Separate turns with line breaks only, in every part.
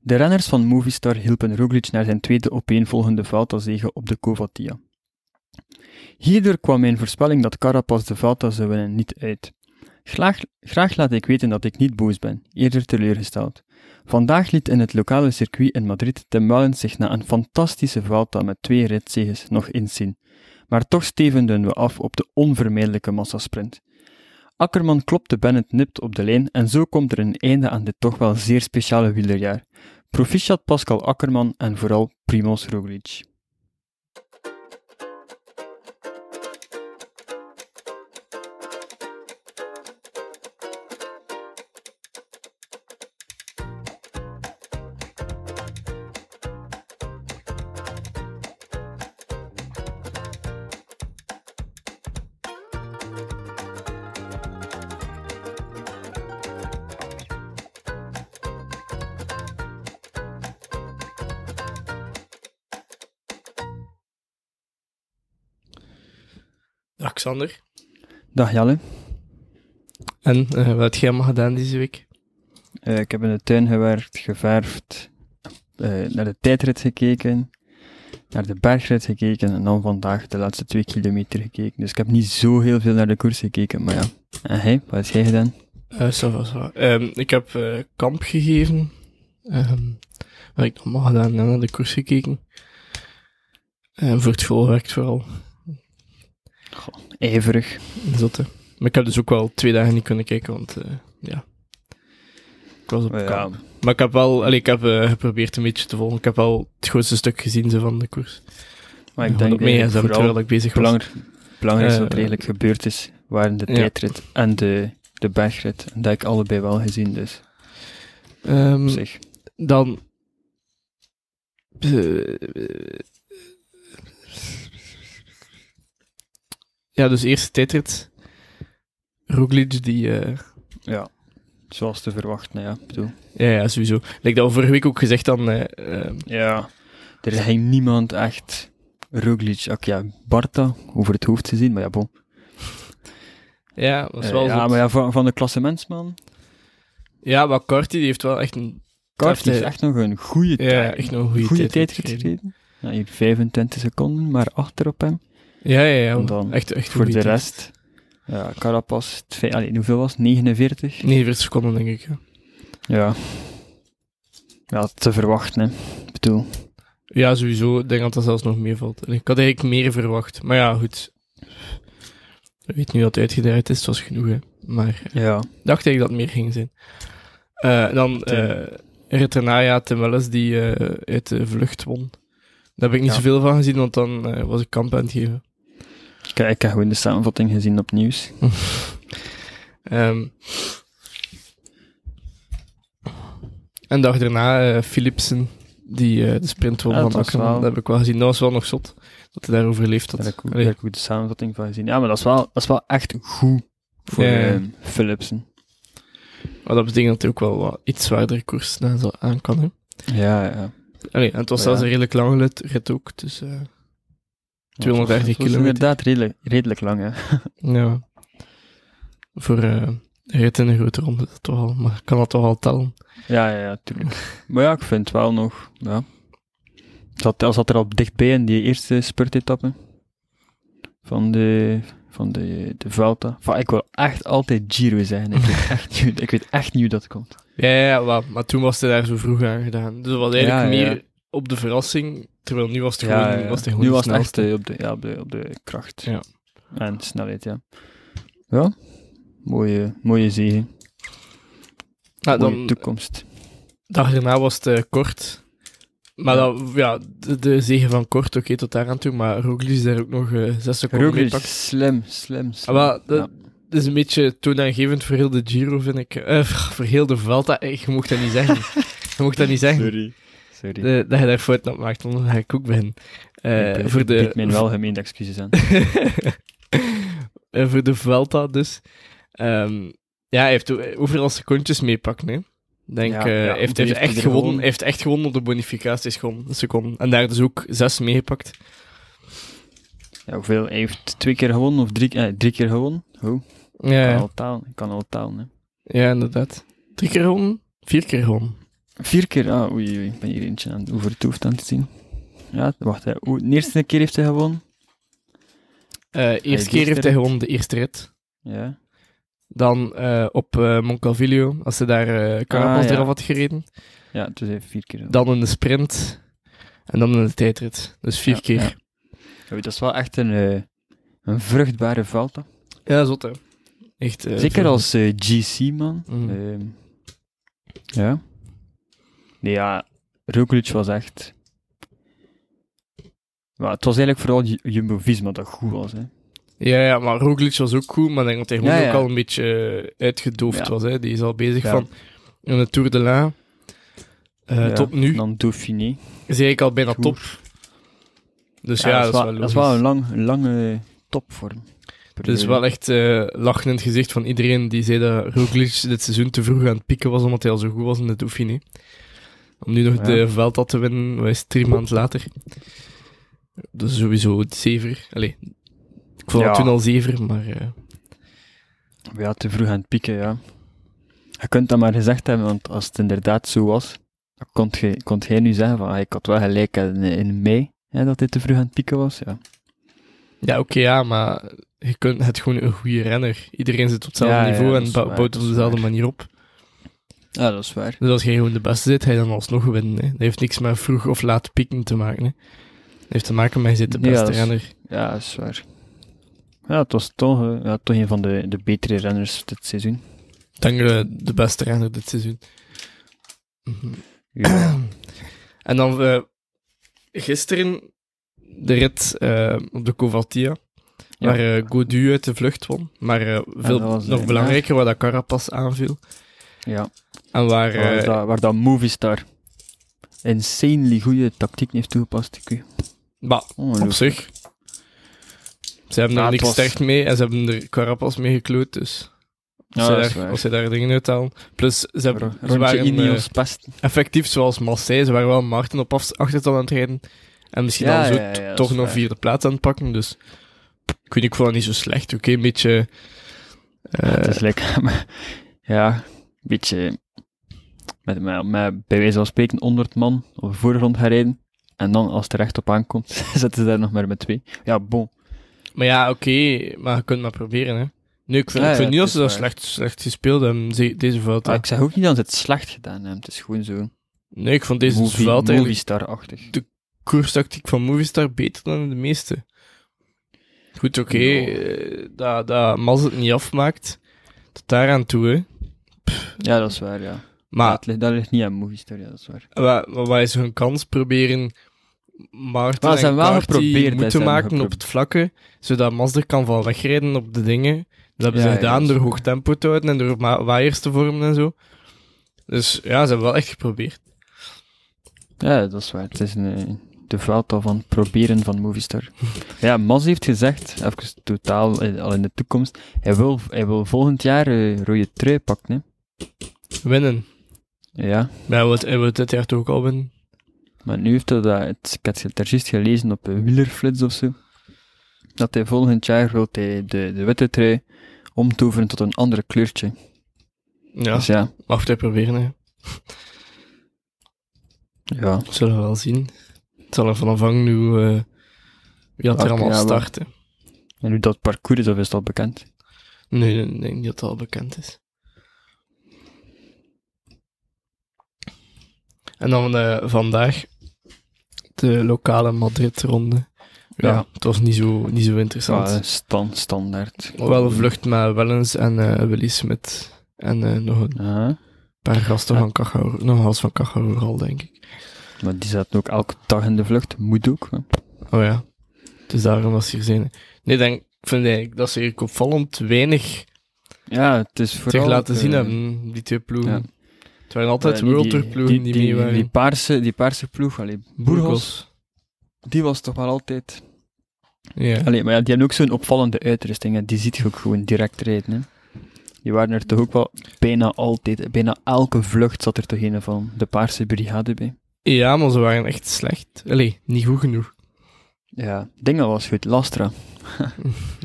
De renners van Movistar hielpen Roglic naar zijn tweede opeenvolgende Vuelta-zege op de Covatia. Hierdoor kwam mijn voorspelling dat Carapaz de Vuelta zou winnen niet uit. Graag, graag laat ik weten dat ik niet boos ben, eerder teleurgesteld. Vandaag liet in het lokale circuit in Madrid Tim Wellens zich na een fantastische Vuelta met twee ritzeges nog inzien. Maar toch stevenden we af op de onvermijdelijke massasprint. Akkerman klopte Bennett nipt op de lijn en zo komt er een einde aan dit toch wel zeer speciale wielerjaar. Proficiat Pascal Akkerman en vooral Primoz Roglic.
Alexander.
Dag Jelle.
En eh, wat heb jij allemaal gedaan deze week?
Eh, ik heb in de tuin gewerkt, geverfd, eh, naar de tijdrit gekeken, naar de bergrit gekeken en dan vandaag de laatste twee kilometer gekeken. Dus ik heb niet zo heel veel naar de koers gekeken, maar ja. En hey, wat heb jij gedaan?
Eh, ça va, ça va. Ehm, ik heb eh, kamp gegeven. Ehm, wat heb ik nog allemaal gedaan? En naar de koers gekeken. En voor het volwerkt vooral.
Ijverig.
Zotte. Maar ik heb dus ook wel twee dagen niet kunnen kijken, want eh, ja. Ik was op kamp.
Ja,
Maar ik heb wel, allee, ik heb eh, geprobeerd een beetje te volgen. Ik heb wel het grootste stuk gezien zo, van de koers.
maar
Ja,
ik denk
op mij
dat
gsm, terwijl
vooral
ik bezig
het
was.
belangrijk, belangrijkste wat er
Eh,
eigenlijk gebeurd is, waren de
ja.
tijdrit en de, de bergrit. En dat heb ik allebei wel gezien, dus op
Ehm,
zich.
dan. Eh, Ja, dus eerst tijdrit. Roglic, die... eh,
Ja, zoals te verwachten, ja. Ik bedoel,
ja, ja, sowieso. Lijkt dat we vorige week ook gezegd dan... eh, eh,
Ja, er ging niemand echt Roglic, ook ja, Barta over het hoofd gezien, maar ja, bon.
ja, dat is
Eh,
wel
ja,
zo.
maar ja, van, van de klassementsman.
Ja, maar Carty die heeft wel echt een...
Kart heeft
eh,
echt nog een goede
Ja,
tijd.
echt nog een goede,
goede tijd
tijdrit gereden.
gereden. Ja, hier 25 seconden, maar achter op hem.
Ja, ja, ja.
En dan
echt, echt
Voor
goede
de
tijd.
rest, ja, Carapaz, twee, allee, hoeveel was het? 49?
49 seconden, denk ik. ja.
Ja. Ja, te verwachten, hè. Ik bedoel,
Ja, sowieso. Ik denk dat dat zelfs nog meevalt. Ik had eigenlijk meer verwacht. Maar ja, goed. Ik weet nu dat het uitgedraaid is, het was genoeg. Hè. Maar ik
ja.
dacht eigenlijk dat het meer ging zijn. Eh, dan eh Retrenaya Tim Welles, die eh, uit de vlucht won. Daar heb ik niet
Ja.
zoveel van gezien, want dan eh, was ik kamp aan het geven.
Ik, ik heb gewoon de samenvatting gezien op nieuws.
Ehm. en de dag daarna eh, Philipsen, die eh, de sprint won
Ja, dat
van
was
Akkerman.
wel-
Dat heb ik wel gezien. Dat was wel nog zot, dat hij daarover leeft.
Daar heb ik, ook- daar
Allee.
heb ik ook de samenvatting van gezien. Ja, maar dat is wel, dat is wel echt goed voor
Ja.
ehm, Philipsen.
Maar dat betekent dat hij ook wel wat iets zwaardere koers na zal aan kan. Hè?
Ja, ja.
Allee, en het was
Oh, Ja.
zelfs een redelijk lange rit, rit ook. Dus, eh, 230
Het was
kilometer.
inderdaad redelijk, redelijk lang, hè.
ja. Voor eh rit in een grote ronde, dat toch al, maar ik kan dat toch al tellen.
Ja, ja, ja, tuurlijk. maar ja, ik vind wel nog, ja. Zat, hij zat er al dichtbij in die eerste spurtetappe van de, van de, de Vuelta. Enfin, ik wil echt altijd Giro zeggen. Ik weet echt niet, ik weet echt niet hoe dat komt.
Ja, ja, ja, wel, maar toen was hij daar zo vroeg aan gedaan. Dus dat was eigenlijk
Ja, ja.
meer op de verrassing, terwijl nu was het gewoon, Was het gewoon
nu
de
was het echt
snelste.
eh, op de, ja, op de, op de kracht.
Ja.
En snelheid, ja. Ja, mooie, mooie zegen.
Nou,
mooie
dan, de
toekomst.
dag daarna was het eh, kort. Maar
Ja.
dan, ja, de, de zegen van kort, oké, tot daar aan toe. Maar Roglic is daar ook nog eh zes seconden mee
Roglic,
pakken.
slim, slim, slim.
Ah, wel,
Ja.
dat dat is een beetje toonaangevend voor heel de Giro, vind ik. Eh, voor heel de Vuelta. Eh, Je mocht dat niet zeggen. Je mocht dat niet zeggen.
Sorry. Sorry.
De- dat je daar fouten op maakt, want dan ga ik ook beginnen. Eh,
Ik, eh,
voor de,
bied mijn welgemeende excuses aan.
Eh, voor de Vuelta dus. Ehm, ja, hij heeft o- overal secondjes meepakken, hè. Ik Denk,
Ja,
eh,
ja,
hij
want
heeft, hij heeft
heeft
echt
er
gewonnen,
gewoon-
hij heeft echt gewonnen op de bonificaties gewoon, een seconde. En daar dus ook zes meegepakt.
Ja, hoeveel? Hij heeft twee keer gewonnen of drie, eh, drie keer gewonnen. Hoe?
Ja,
Kan
ja.
al taal, kan al taal, hè.
ja inderdaad. Drie keer gewonnen, vier keer gewonnen.
Vier keer, ah, oei, oei, ik ben hier eentje aan het overtoeft aan het zien. Ja, wacht, hè. Oeh, de eerste keer heeft hij gewonnen.
Eh, eerste keer heeft hij gewoon de eerste rit.
Ja.
Dan eh, op eh Moncalvillo, als ze daar eh Carapaz
Ah, ja.
eraf had gereden.
Ja, dus hij heeft vier keer. gewonnen.
Dan in de sprint. En dan in de tijdrit. Dus vier
Ja,
keer.
ja. Oei, dat is wel echt een, eh, een vruchtbare valt.
Ja, zot hè. Echt, eh,
Zeker
veel-
als eh, GC, man.
Mm.
Ehm, ja. Nee, ja, Roglic was echt... Maar het was eigenlijk vooral Ju- Jumbo-Visma dat goed was, hè.
Ja, ja, maar Roglic was ook goed, maar ik denk dat hij gewoon
Ja, ja.
ook al een beetje eh, uitgedoofd
Ja.
was. Hè. Die is al bezig
Ja.
van in de Tour de La. eh,
Ja, Nou.
Tot nu
Dan Dauphiné.
is hij eigenlijk al bijna
Tour.
top. Dus ja, dat, is wel,
dat is wel een
logisch.
lang, een lange topvorm.
Het is wel echt eh, lachen in het gezicht van iedereen die zei dat Roglic dit seizoen te vroeg aan het pieken was, omdat hij al zo goed was in de Dauphiné. Om nu nog
Ja.
de Vuelta te winnen, wat is het, drie maanden later. Dat is sowieso het zever. Allee, ik vond
Ja.
het toen al zever, maar... eh,
Ja, te vroeg aan het pieken, ja. Je kunt dat maar gezegd hebben, want als het inderdaad zo was, dan kon, je, kon jij nu zeggen van, ah, ik had wel gelijk in, in mei, hè, dat dit te vroeg aan het pieken was, ja.
Ja, oké, ja, maar je kunt het gewoon een goede renner. Iedereen zit op hetzelfde
Ja, ja,
niveau
dat
en
is
bou-
waar,
bouwt
dat
op
is
dezelfde
waar.
manier op.
Ja, dat is waar.
Dus als jij gewoon de beste zit, ga je dan alsnog winnen. Hè. Dat heeft niks met vroeg of laat pieken te maken. Hè. Dat heeft te maken met je zit de
Ja,
beste
dat is-
renner.
Ja, dat is waar. Ja, het was toch, eh, ja, toch een van de, de betere renners dit seizoen.
Dan eh, de beste renner dit seizoen. Mhm.
Ja,
En dan eh, gisteren de rit eh, op de Covatia,
Ja.
waar eh, Gaudu uit de vlucht won. Maar eh, veel,
dat was,
nog
eh,
belangrijker, waar dat Carapaz aanviel.
ja.
En waar...
waar,
eh,
dat, waar dat Movistar insanely goede tactiek heeft toegepast. Ik weet-
bah, Op
Ongelooflijk.
zich. Ze hebben
Ja,
er
het
niks
was-
sterk mee en ze hebben er Carapaz mee gekloot, dus...
Ja,
Als, ze
dat is
daar,
waar.
als ze daar dingen uithalen. Plus, ze, hebben,
Ro-
ze
Rondje
waren
Ineos
eh,
past.
effectief zoals Marseille. Ze waren wel Martin op af- achterstand aan het rijden. En misschien
Ja,
al zo
ja, ja,
t-
dat is
toch nog
waar.
vierde plaats aan het pakken. Dus ik weet niet, ik vond het niet zo slecht. Oké, een beetje... eh,
Het is lekker, maar ja, een beetje met, met, met bij wijze van spreken 100 man op de voorgrond gaan rijden. En dan, als het er echt op aankomt, zetten ze daar nog maar met twee. Ja, bon.
maar ja, oké. maar je kunt maar proberen, hè. Nu, ik vind,
Ja,
ik vind
ja,
niet
het
dat ze
is
dat
waar.
slecht, slecht gespeeld hebben, ze- deze Vuelta.
Maar ik zeg ook niet dat ze het slecht gedaan hebben. Het is gewoon zo
nee, ik vond deze
movie,
Vuelta eigenlijk
Movistar-achtig.
koerstactiek van Movistar beter dan de meeste. Goed, oké,
Ja.
eh, dat, dat Mas het niet afmaakt, tot daar aan toe, hè.
Ja, dat is waar, ja. Maar
Maar
dat, ligt, dat ligt niet aan Movistar, ja, dat is waar.
wa- wa- wat is hun kans proberen Maarten
Maar ze
en
hebben wel
Carty
geprobeerd, hè,
moe
ze
te
hebben
maken op
geprobeerd.
het vlakke, zodat Mas er kan van wegrijden op de dingen. Dat hebben
Ja,
ze
ja,
gedaan
dat is
door
waar.
hoog tempo te houden en door ma- waaiers te vormen en zo. Dus ja, ze hebben wel echt geprobeerd.
Ja, dat is waar. Het is een, eh, de vuiltal van proberen van Movistar. ja, Mas heeft gezegd, even totaal eh, al in de toekomst, hij wil, hij wil volgend jaar eh, rode trui pakken,
Winnen.
hè. Ja.
Maar hij wil- hij wil dit jaar toch ook al winnen.
Maar nu heeft hij dat, het- ik had het daar juist gelezen op een wielerflits of zo, dat hij volgend jaar wil hij de, de witte trui omtoveren tot een andere kleurtje.
Ja,
Dus ja,
mag hij proberen, hè.
ja.
Zullen we wel zien. Het zal ervan afhangen hoe, eh, wie dat er
Welke
allemaal
ja, wel.
start. hè.
En hoe dat parcours is, of is dat bekend?
Nee, nee, ik denk niet dat het al bekend is. En dan eh, vandaag de lokale Madrid-ronde. Ja,
Ja.
het was niet zo, niet zo
Ja,
interessant.
eh, stan, standaard.
wel een vlucht met Wellens en eh Willy Smit. En eh, nog een
Ja,
paar gasten
Ja.
van Cajaro, nog een gast van Cajaro al, denk ik.
maar die zaten ook elke dag in de vlucht. Moet ook. hè.
Oh ja, dus daarom was ze hier zijn. Nee, denk, ik vind eigenlijk dat ze hier opvallend weinig
Ja, het is vooral...
zich laten zien
eh,
hebben, die twee ploegen.
ja.
Het waren altijd
eh,
World Tour ploegen die, mee waren.
Die paarse, die paarse ploeg, allee, Burgos, die was toch wel altijd...
Ja.
Allee, maar ja, die hebben ook zo'n opvallende uitrusting, hè. die ziet je ook gewoon direct rijden. Hè. Die waren er toch ook wel bijna altijd, bijna elke vlucht zat er toch een van, de paarse brigade bij.
ja, maar ze waren echt slecht. Allee, niet goed genoeg.
Ja, dingen was goed, Lastra.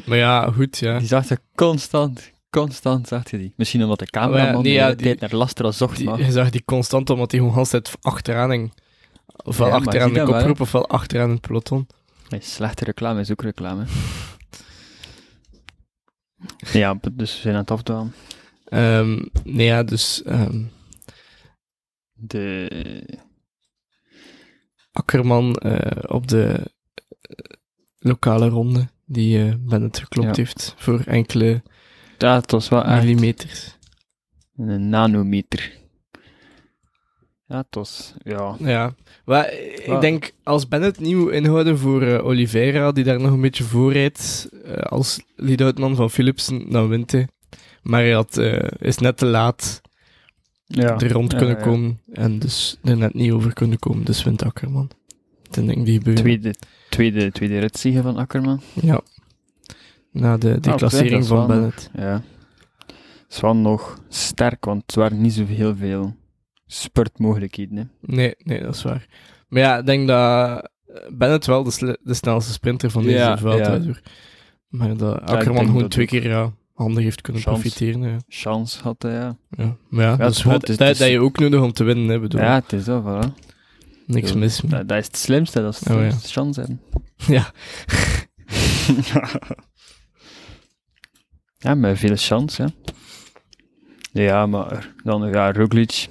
Maar ja, goed, ja.
Die zag je constant, Constant zag je die. Misschien omdat de cameraman
Maar
man
ja, nee, ja, die-
naar Lastra zocht,
Die,
maar...
je zag die constant omdat die gewoon altijd achteraan hing. Ofwel
Ja, maar
achteraan
zie
de
dat wel,
koproep, ofwel achteraan het peloton.
Nee, slechte reclame is ook reclame. ja, b- dus we zijn aan het afdwalen.
Ehm, nee, ja, dus ehm,
De...
Akkerman eh, op de eh, lokale ronde, die eh, Bennett geklopt
Ja.
heeft voor enkele
Ja, het was wel echt
millimeters.
een nanometer. Ja, het was... Ja,
Ja, maar eh,
Waar-
ik denk als Bennett nieuw inhouden voor eh, Oliveira, die daar nog een beetje voor rijdt, eh, als leadoutman van Philipsen, dan wint hij. Maar hij had, eh, is net te laat
ja.
er rond kunnen
ja.
komen en dus er net niet over kunnen komen, dus wint Akkerman. Dat denk ik die gebeurt.
Tweede, tweede, tweede ritzege van Akkerman.
Ja. Na de, die
Ah, dat
klassering
is
van
wel nog-
Bennett.
Ja. Zwan nog sterk, want het waren niet zo heel veel spurtmogelijkheden. Hè.
Nee, nee, dat is waar. Maar ja, ik denk dat eh, Bennett wel de, sle- de snelste sprinter van deze
Ja,
veld
ja.
is, hoor. Maar dat
ik
Akkerman
denk
gewoon
dat
twee
ook.
keer ja, handig heeft kunnen
Chance.
profiteren. Ja.
Chance had hij, ja.
Ja. Maar ja, dat,
het
is
is
wel-
goed, het is-
dat,
het is-
dat je ook nodig om te winnen, hè, bedoel.
Ja, het is dat, voilà.
Niks
Ja.
mis. mee.
Dat, dat is het slimste, dat is het
Oh, ja.
slimste, chance hebben.
Ja.
ja, met veel chance, hè. Ja, maar dan, ja, Roglic.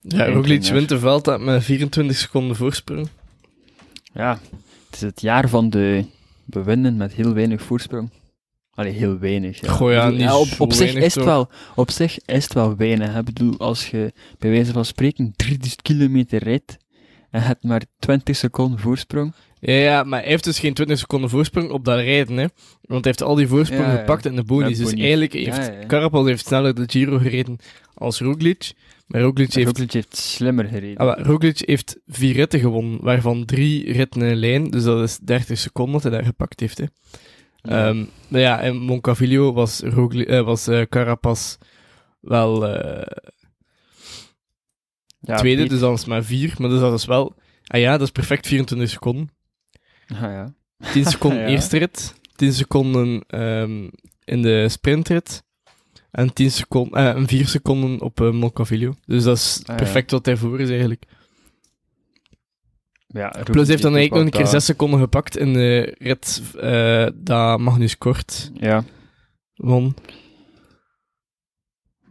Ja,
Eén
Roglic
keer.
wint de veld met 24 seconden voorsprong.
Ja, het is het jaar van de bewinden met heel weinig voorsprong. Allee, heel weinig. Ja.
Goh, ja,
Ik bedoel,
niet
op,
zo
op, zich
weinig,
is het
toch?
wel, op zich is het wel weinig. hè. Ik bedoel, als je bij wijze van spreken 3000 kilometer rijdt en je hebt maar 20 seconden voorsprong.
Ja, ja, maar hij heeft dus geen 20 seconden voorsprong op dat rijden, hè. Want hij heeft al die voorsprong
Ja, ja.
gepakt in de bonies.
Met
Dus
bonies.
eigenlijk
Ja,
heeft
ja.
Carapaz heeft sneller de Giro gereden als Roglic. Maar Roglic heeft
Roglic heeft slimmer gereden.
Ah, maar Roglic heeft vier ritten gewonnen, waarvan drie ritten in een lijn. Dus dat is 30 seconden dat hij daar gepakt heeft. Hè.
Ja.
Ehm, maar ja, in Moncavillo was, Rogli, eh, was eh, Carapaz wel eh,
Ja,
tweede,
Piet-
dus dan is het maar vier. Maar dus dat is wel... Ah ja, dat is perfect 24 seconden.
Ah, ja.
10 seconden
Ja.
eerste rit, 10 seconden ehm, in de sprintrit. En 10 seconden, eh, en 4 seconden op eh, Moncavillo. Dus dat is
Ah, ja.
perfect wat hij voor is eigenlijk.
Ja, Roglic
Plus hij heeft dan
ook
eigenlijk nog een keer
wat,
6 seconden gepakt in de rit eh dat Magnus Kort
eh, Ja,
won.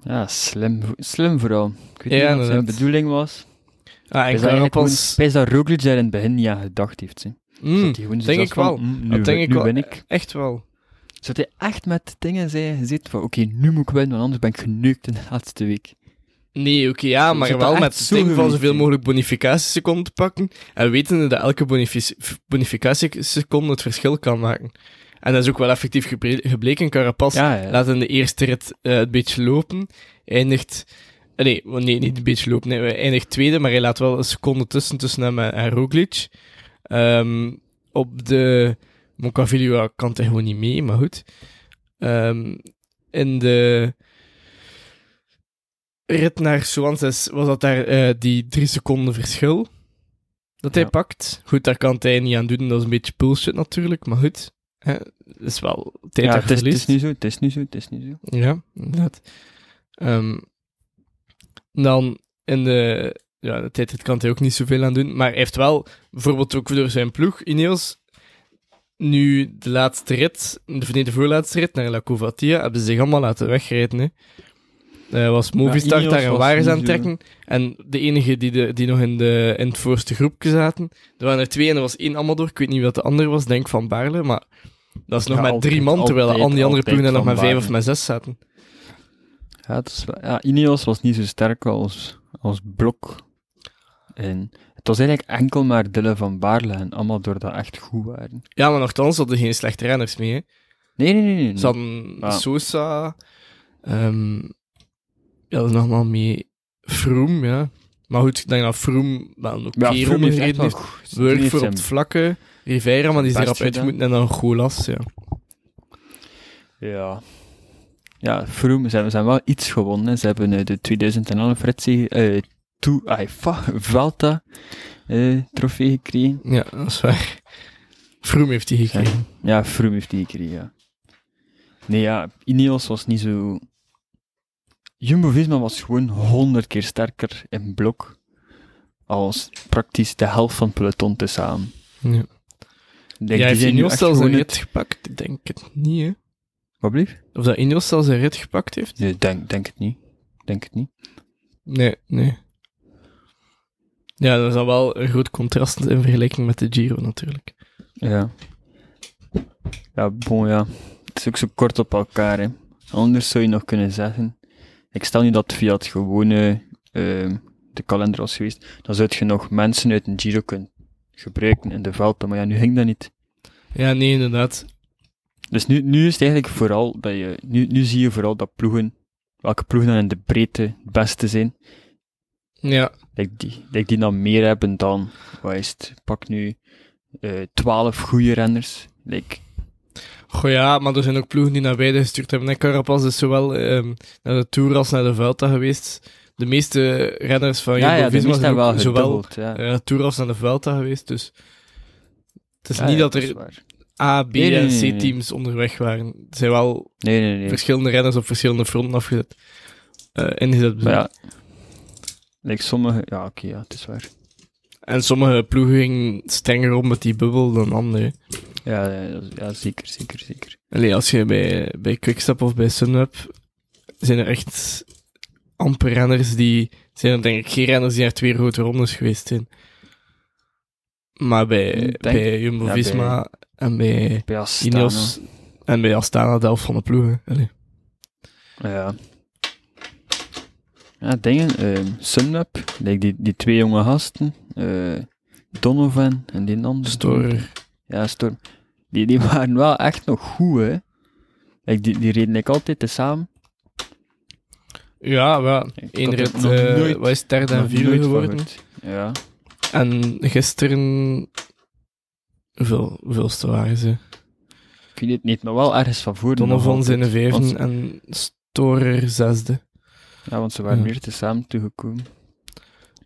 ja slim, vo- slim vooral. Ik weet
Ja,
niet wat zijn
inderdaad.
bedoeling was.
Ah, en
Ik denk
Carapaz...
dat, dat Roglic daar in het begin niet aan gedacht heeft. hè.
Mm,
Dat hij gewoon
denk
zo
ik
van,
wel.
mm, nu,
Dat denk ik
nu
wel.
ben ik.
echt wel.
Zodat hij echt met dingen zei, zit van oké, nu moet ik winnen, want anders ben ik geneukt in de laatste week.
Nee, oké, ja,
Zou
maar
dat
wel
echt
met het
zo
ding van
geweest
zoveel
zijn?
mogelijk bonificatieseconden te pakken. En wetende dat elke bonifici- bonificatieseconde het verschil kan maken. En dat is ook wel effectief gebre- gebleken. Carapaz
Ja, ja.
laat in de eerste rit eh, het beetje lopen. Eindigt. Nee, oh nee, niet een beetje lopen. Nee, hij eindigt tweede, maar hij laat wel een seconde tussen tussen hem en, en Roglic. Ehm, op de Moncavillo ja, kan hij gewoon niet mee, maar goed. Ehm, in de rit naar Suances was dat daar eh, die drie seconden verschil dat hij
Ja.
pakt. Goed, daar kan hij niet aan doen. Dat is een beetje bullshit natuurlijk, maar goed. Hè, Het is wel tijd
Ja,
dat
het, is, het is
verliest.
nu zo, het is nu zo, het is nu zo.
Ja, inderdaad. Ehm, dan in de, ja, de tijdrit kan hij ook niet zoveel aan doen. Maar hij heeft wel, bijvoorbeeld ook door zijn ploeg, Ineos, nu de laatste rit, of nee, de voorlaatste rit naar La Covatia, hebben ze zich allemaal laten wegrijden. Hè. Eh, was Movistar
Ineos
daar een
was
wagens
niet
aan het
zo-
trekken. En de enige die, de, die nog in, de, in het voorste groepje zaten, er waren er twee en er was één allemaal door. Ik weet niet wat de andere was, denk van Baarle, maar dat is nog
Ja,
maar drie
altijd,
man, terwijl
altijd,
al die andere
altijd
ploegen er nog
Van
maar vijf
Baarle.
of maar zes zaten.
Ja, het is wel- ja, Ineos was niet zo sterk als, als blok. En het was eigenlijk enkel maar Dille van Baarle en allemaal door dat echt goed waren.
Ja, maar nogthans hadden geen slechte renners mee. Hè.
Nee, nee, nee. nee, nee.
Ze hadden
Ja.
Sosa. ehm ja, dat is nogmaals mee. Froome, ja. Maar goed, ik denk dat Froome wel een
ja,
oké
Froome
ronde
heeft echt
gereden
wel
heeft.
goed- die
Wurg
heeft
voor op
zijn-
het vlakke. Rivera, maar die is
best
erop uitgemoeten. En dan Golas, ja.
Ja. Ja, Froome, ze hebben, ze hebben wel iets gewonnen. hè. Ze hebben eh, de 2011 Ritzie, eh toe, ai, fa, Velta eh, trofee gekregen.
Ja, dat is waar. Froome heeft die gekregen.
Ja, Froome heeft die gekregen, ja. Nee, ja, Ineos was niet zo... Jumbo-Visma was gewoon honderd keer sterker in blok als praktisch de helft van het peloton tezamen.
Ja.
Ik Denk,
Jij heeft
zijn nu
Ineos
echt
zelfs een
gewoon
rit
het-
gepakt? Ik denk het niet, hè.
Wat blieft?
Of dat Ineos zelfs een rit gepakt heeft?
Nee, denk, denk het niet. Denk het niet.
Nee, nee. Ja, dat is dan wel een groot contrast in vergelijking met de Giro, natuurlijk.
Ja. Ja, bon, ja. Het is ook zo kort op elkaar, hè. Anders zou je nog kunnen zeggen... Ik stel nu dat via het gewone... ehm, de kalender was geweest, dan zou je nog mensen uit een Giro kunnen gebruiken in de velden, maar ja, nu ging dat niet.
Ja, nee, inderdaad.
Dus nu, nu is het eigenlijk vooral dat je... Nu, nu zie je vooral dat ploegen... Welke ploegen dan in de breedte het beste zijn.
Ja,
Dat die, dat die dan meer hebben dan... Wat is het? Pak nu... eh, Twaalf goede renners. Like,
Goh ja, maar er zijn ook ploegen die naar beide gestuurd hebben. En Carapaz is zowel ehm, naar de Tour als naar de Vuelta geweest. De meeste renners van
ja, ja, de
Jumbo-Visma
meesten
zijn
hebben wel
ook zowel
gedubbeld. Ja.
eh, naar de Tour als naar de Vuelta geweest. Dus het is
Ja,
niet
ja,
dat
is
er
waar.
A, B
Nee, nee,
en
nee, nee, nee.
C-teams onderweg waren. Er zijn wel
Nee, nee, nee.
verschillende renners op verschillende fronten afgezet. eh, ingezet. bedoel
Maar
ik.
ja... Like sommige... Ja, oké, ja, het is waar.
En sommige ploegen gingen strenger om met die bubbel dan anderen.
Ja, ja, dat is- ja, zeker, zeker, zeker.
Allee, als je bij, bij Quickstep of bij Sunweb zijn er echt amper renners die... Zijn er denk ik geen renners die naar twee grote rondes geweest zijn. Maar bij,
Denk-
bij Jumbo-Visma
ja,
en bij
Bij Astana.
Ineos en bij Astana de helft van de ploegen. Allee.
Ja. Ja, dingen. ehm Sunweb, like die, die twee jonge gasten. eh, Donovan en die andere.
Storer.
Ja, Storm. Die, die waren wel echt nog goed, hè. Like, die, die reden ik altijd tezamen.
Ja, maar
Ik
één
had er
rit
nog
eh,
nooit-
wat is het, derde en
Nog
vierde
nooit van
geworden.
gehoord. Ja.
En gisteren... Hoeveel, hoeveelste waren ze?
Ik weet het niet, maar wel ergens van voor.
Donovan zijn de
Want,
vijfde en Storer zesde.
ja, want ze waren
Ja.
meer tezamen toegekomen.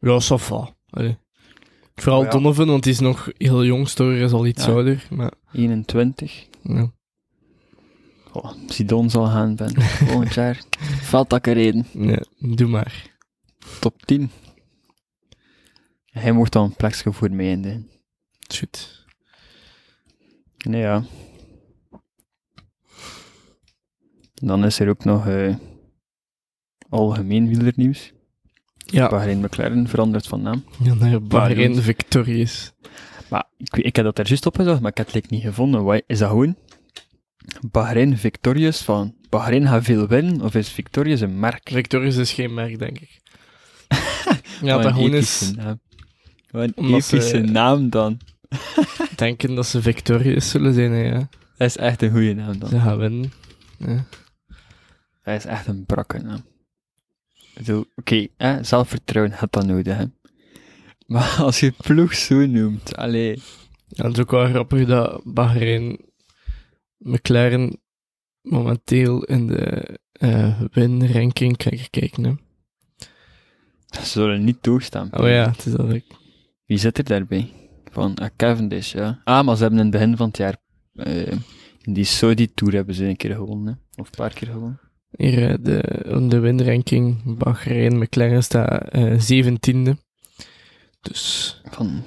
Ja, ça va. Allee. Vooral
Maar ja.
Donovan, want die is nog heel jong. Storer is al iets
Ja.
ouder. Maar,
21.
ja.
Oh, Sidon zal gaan, Ben. Volgend jaar. Veldtakken reden.
Nee, doe maar.
Top 10. Hij mocht dan een plekje voor mij in de...
Het is Goed.
Nee, ja. Dan is er ook nog eh, algemeen wielernieuws.
Ja,
Bahrein McLaren verandert van naam.
ja naar Bahrein
jongens.
Victorious.
Maar ik, weet- ik heb dat er juist opgezocht, maar ik heb het like niet gevonden. Wat is dat gewoon? Bahrein Victorious van Bahrein gaat veel winnen, of is Victorious een merk?
Victorious is geen merk, denk ik. ja,
Wat
dat
een
gewoon
epische
is
naam. Wat een
Omdat eh, ze-
epische naam dan.
denken dat ze Victorious zullen zijn. hè, Ja.
Dat is echt een goede naam dan.
Ze gaan winnen. Ja.
Dat is echt een brakke naam. Ik bedoel, Oké, hè, zelfvertrouwen had dat nodig, hè. Maar als je ploeg zo noemt, allee...
Ja, het is ook wel grappig dat Bahrein McLaren momenteel in de eh win-ranking kan kijken. Hè.
Ze zullen niet doorstaan.
Oh ja, het is dat ik.
Wie zit er daarbij? Van eh, Cavendish, ja. Ah, maar ze hebben in het begin van het jaar... eh, in die Saudi-tour hebben ze een keer gewonnen, hè. Of een paar keer gewonnen.
Hier eh, de, in de winranking Bahrein McLaren staat eh 17e. Dus
Van...